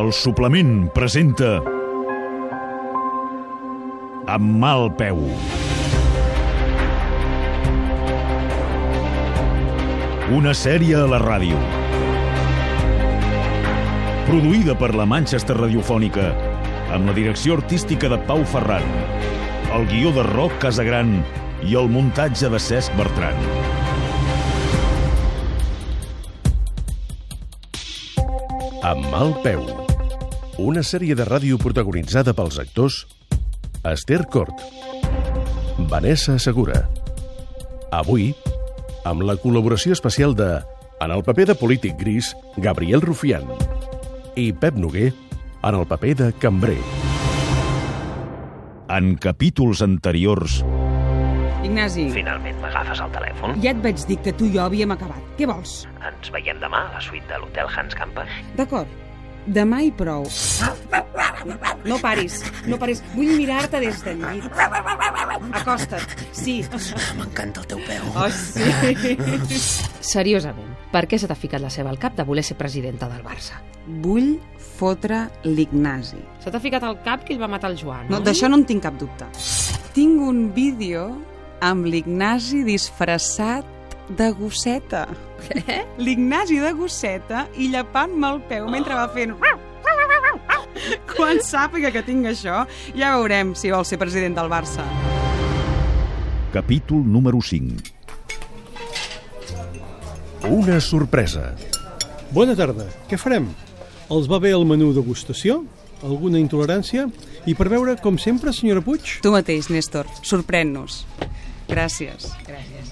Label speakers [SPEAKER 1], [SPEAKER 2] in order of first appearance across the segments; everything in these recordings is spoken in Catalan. [SPEAKER 1] El suplement presenta... Amb mal peu. Una sèrie a la ràdio. Produïda per la Manchester Radiofònica, amb la direcció artística de Pau Ferran, el guió de Roc Casagran i el muntatge de Cesc Bertran.
[SPEAKER 2] Amb mal peu. Una sèrie de ràdio protagonitzada pels actors Esther Cort, Vanessa Segura. Avui, amb la col·laboració especial de, en el paper de polític gris, Gabriel Rufián, i Pep Noguer, en el paper de cambrer.
[SPEAKER 1] En capítols anteriors...
[SPEAKER 3] Ignasi,
[SPEAKER 4] Finalment m'agafes el telèfon?
[SPEAKER 3] ja et vaig dir que tu i jo havíem acabat. Què vols?
[SPEAKER 4] Ens veiem demà a la suite de l'hotel Hans Camper.
[SPEAKER 3] D'acord. Demà i prou. No paris, no paris. Vull mirar-te des del llit. Acosta't. Sí.
[SPEAKER 5] M'encanta el teu peu.
[SPEAKER 3] Oh, sí.
[SPEAKER 6] Seriosament, per què se t'ha ficat la seva al cap de voler ser presidenta del Barça?
[SPEAKER 3] Vull fotre l'Ignasi.
[SPEAKER 6] Se t'ha ficat al cap que ell va matar el Joan,
[SPEAKER 3] No, D'això no en tinc cap dubte. Tinc un vídeo amb l'Ignasi disfressat de gosseta. Què? L'Ignasi de gosseta i llepant-me el peu mentre va fent... Quan sàpiga que tinc això, ja veurem si vol ser president del Barça.
[SPEAKER 1] Capítol número 5.
[SPEAKER 2] Una sorpresa.
[SPEAKER 7] Bona tarda. Què farem? Els va bé el menú degustació? Alguna intolerància? I per veure, com sempre, senyora Puig?
[SPEAKER 3] Tu mateix, Néstor, sorprèn-nos. Gràcies.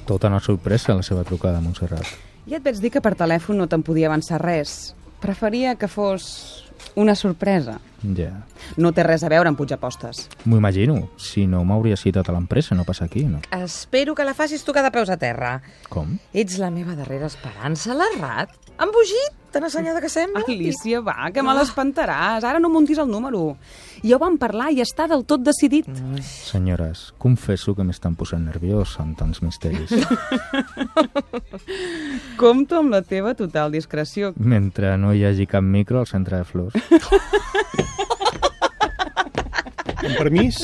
[SPEAKER 8] Tota una sorpresa la seva trucada, Montserrat.
[SPEAKER 3] Ja et vaig dir que per telèfon no te'n podia avançar res. Preferia que fos una sorpresa.
[SPEAKER 8] Ja.
[SPEAKER 3] No té res a veure amb Pujapostes.
[SPEAKER 8] M'ho imagino. Si no m'hauria citat a l'empresa, no passa aquí, no?
[SPEAKER 6] Espero que la facis tocar de peus a terra.
[SPEAKER 8] Com?
[SPEAKER 6] Ets la meva darrera esperança, l'errat. Han bugit, tan assenyada que sembla.
[SPEAKER 3] Alícia, va, que me l'espantaràs. Ara no muntis el número. Ja ho vam parlar i està del tot decidit.
[SPEAKER 8] Senyores, confesso que m'estan posant nerviós amb tants misteris.
[SPEAKER 3] Compto amb la teva total discreció.
[SPEAKER 8] Mentre no hi hagi cap micro al centre de flors.
[SPEAKER 7] Amb permís?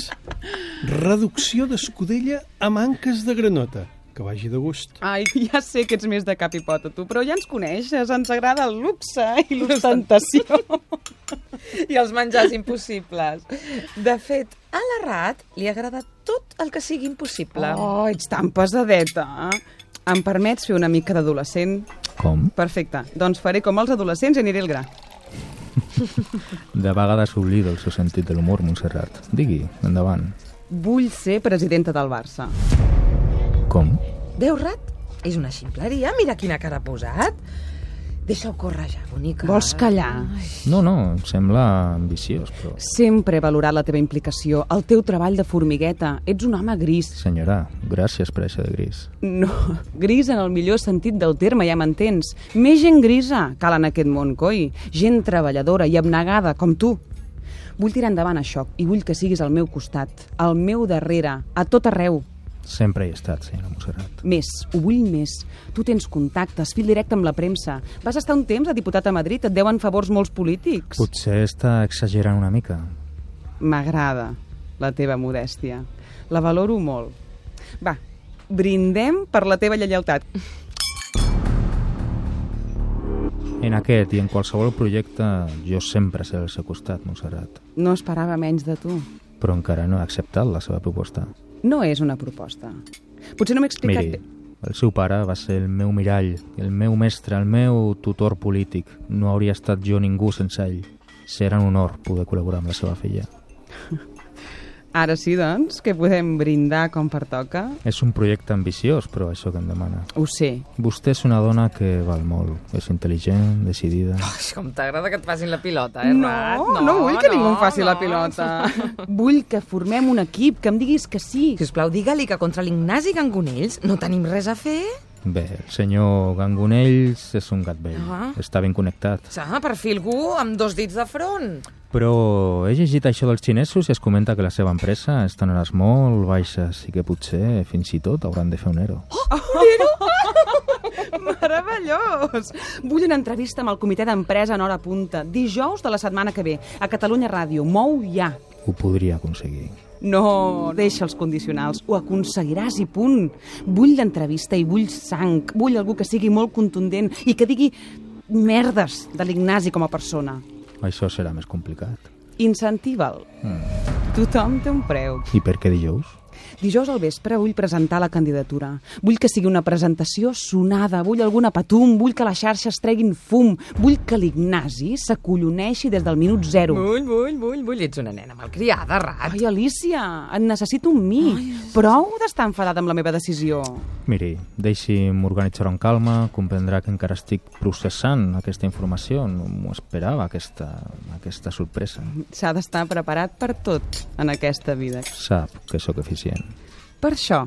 [SPEAKER 7] Reducció d'escudella a manques de granota. Que vagi de gust.
[SPEAKER 3] Ai, ja sé que ets més de cap i pota, tu, però ja ens coneixes, ens agrada el luxe i l'ostentació.
[SPEAKER 9] i els menjars impossibles. De fet, a la Rat li agrada tot el que sigui impossible.
[SPEAKER 3] Oh, ets tan pesadeta. Em permets fer una mica d'adolescent?
[SPEAKER 8] Com?
[SPEAKER 3] Perfecte, doncs faré com els adolescents i aniré al gra.
[SPEAKER 8] De vegades oblido el seu sentit de l'humor, Montserrat. Digui, endavant.
[SPEAKER 3] Vull ser presidenta del Barça.
[SPEAKER 8] Com?
[SPEAKER 9] Veu, Rat? És una ximpleria, mira quina cara ha posat. Deixa-ho córrer ja, bonica.
[SPEAKER 3] Vols callar?
[SPEAKER 8] No, no, em sembla ambiciós, però...
[SPEAKER 3] Sempre he valorat la teva implicació, el teu treball de formigueta. Ets un home gris.
[SPEAKER 8] Senyora, gràcies per això de gris.
[SPEAKER 3] No, gris en el millor sentit del terme, ja m'entens. Més gent grisa cal en aquest món, coi. Gent treballadora i abnegada, com tu. Vull tirar endavant això i vull que siguis al meu costat, al meu darrere, a tot arreu.
[SPEAKER 8] Sempre hi he estat, senyora Montserrat.
[SPEAKER 3] Més, ho vull més. Tu tens contactes, fil directe amb la premsa. Vas estar un temps de diputat a Madrid, et deuen favors molts polítics.
[SPEAKER 8] Potser està exagerant una mica.
[SPEAKER 3] M'agrada la teva modèstia. La valoro molt. Va, brindem per la teva lleialtat.
[SPEAKER 8] En aquest i en qualsevol projecte jo sempre seré al seu costat, Montserrat.
[SPEAKER 3] No esperava menys de tu.
[SPEAKER 8] Però encara no he acceptat la seva proposta.
[SPEAKER 3] No és una proposta. Potser no m'he explicat
[SPEAKER 8] Miri,
[SPEAKER 3] bé.
[SPEAKER 8] el seu pare va ser el meu mirall, el meu mestre, el meu tutor polític. No hauria estat jo ningú sense ell. Serà un honor poder col·laborar amb la seva filla.
[SPEAKER 3] Ara sí, doncs, que podem brindar com pertoca.
[SPEAKER 8] És un projecte ambiciós, però això que em demana.
[SPEAKER 3] Ho sé.
[SPEAKER 8] Vostè és una dona que val molt. És intel·ligent, decidida...
[SPEAKER 9] Ai, com t'agrada que et facin la pilota, eh, Rat?
[SPEAKER 3] no, no vull que ningú em faci la pilota. vull que formem un equip, que em diguis que sí.
[SPEAKER 9] Si us plau, digue-li que contra l'Ignasi Gangonells no tenim res a fer.
[SPEAKER 8] Bé, el senyor Gangonells és un gat vell.
[SPEAKER 9] Ah.
[SPEAKER 8] Està ben connectat.
[SPEAKER 9] Sa, per fi algú amb dos dits de front.
[SPEAKER 8] Però he llegit això dels xinesos i es comenta que la seva empresa està en hores molt baixes i que potser fins i tot hauran de fer un ERO.
[SPEAKER 3] Però... Meravellós! Vull una entrevista amb el comitè d'empresa en hora punta, dijous de la setmana que ve, a Catalunya Ràdio. Mou ja!
[SPEAKER 8] Ho podria aconseguir.
[SPEAKER 3] No, deixa els condicionals. Ho aconseguiràs i punt. Vull l'entrevista i vull sang. Vull algú que sigui molt contundent i que digui merdes de l'Ignasi com a persona.
[SPEAKER 8] Això serà més complicat.
[SPEAKER 3] Incentiva'l. Mm. Tothom té un preu.
[SPEAKER 8] I per què dijous?
[SPEAKER 3] Dijous al vespre vull presentar la candidatura. Vull que sigui una presentació sonada, vull alguna patum, vull que les xarxes treguin fum, vull que l'Ignasi s'acolloneixi des del minut zero.
[SPEAKER 6] Bull, bull, bull, bull. Ets una nena malcriada, rat.
[SPEAKER 3] Ai, Alicia, et necessito un mi. Ai, Prou d'estar enfadada amb la meva decisió.
[SPEAKER 8] Miri, deixi'm organitzar-ho amb calma, comprendrà que encara estic processant aquesta informació, no m'ho esperava, aquesta, aquesta sorpresa.
[SPEAKER 3] S'ha d'estar preparat per tot en aquesta vida.
[SPEAKER 8] Sap que sóc eficient.
[SPEAKER 3] Per això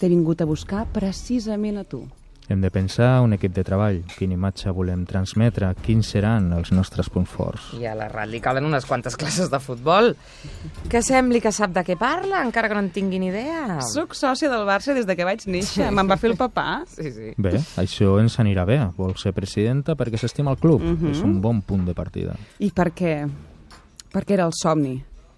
[SPEAKER 3] t'he vingut a buscar precisament a tu.
[SPEAKER 8] Hem de pensar un equip de treball, quina imatge volem transmetre, quins seran els nostres punts forts.
[SPEAKER 6] I a la rat li calen unes quantes classes de futbol. Que sembli que sap de què parla, encara que no en tingui ni idea.
[SPEAKER 3] Soc sòcia del Barça des de que vaig néixer. Me'n va fer el papà.
[SPEAKER 6] Sí, sí.
[SPEAKER 8] Bé, això ens anirà bé. Vol ser presidenta perquè s'estima el club. És un bon punt de partida.
[SPEAKER 3] I per què? Perquè era el somni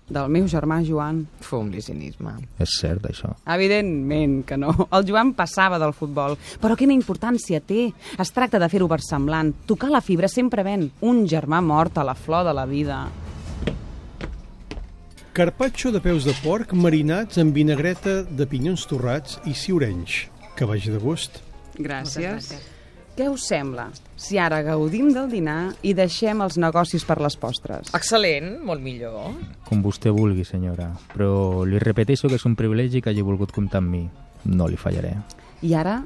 [SPEAKER 3] del meu germà Joan.
[SPEAKER 6] Fum-li cinisme.
[SPEAKER 8] És cert, això.
[SPEAKER 3] Evidentment que no. El Joan passava del futbol. Però quina importància té? Es tracta de fer-ho versemblant. Tocar la fibra sempre ven. Un germà mort a la flor de la vida.
[SPEAKER 7] Carpaccio de peus de porc marinats amb vinagreta de pinyons torrats i ciurenys. Que vagi de gust.
[SPEAKER 3] Gràcies. Què us sembla si ara gaudim del dinar i deixem els negocis per les postres?
[SPEAKER 6] Excel·lent, molt millor.
[SPEAKER 8] Com vostè vulgui, senyora. Però li repeteixo que és un privilegi que hagi volgut comptar amb mi. No li fallaré.
[SPEAKER 3] I ara,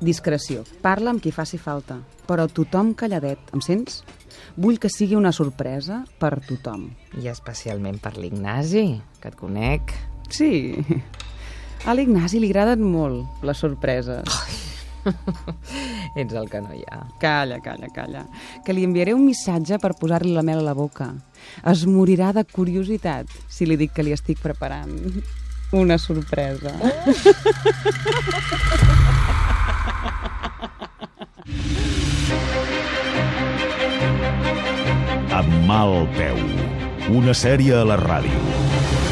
[SPEAKER 3] discreció. Parla amb qui faci falta, però tothom calladet. Em sents? Vull que sigui una sorpresa per tothom.
[SPEAKER 6] I especialment per l'Ignasi, que et conec.
[SPEAKER 3] Sí. A l'Ignasi li agraden molt les sorpreses. Ai.
[SPEAKER 6] Ets el que no hi ha.
[SPEAKER 3] Calla, calla, calla. Que li enviaré un missatge per posar-li la mel a la boca. Es morirà de curiositat si li dic que li estic preparant una sorpresa.
[SPEAKER 1] Amb mal peu. Una sèrie a la ràdio.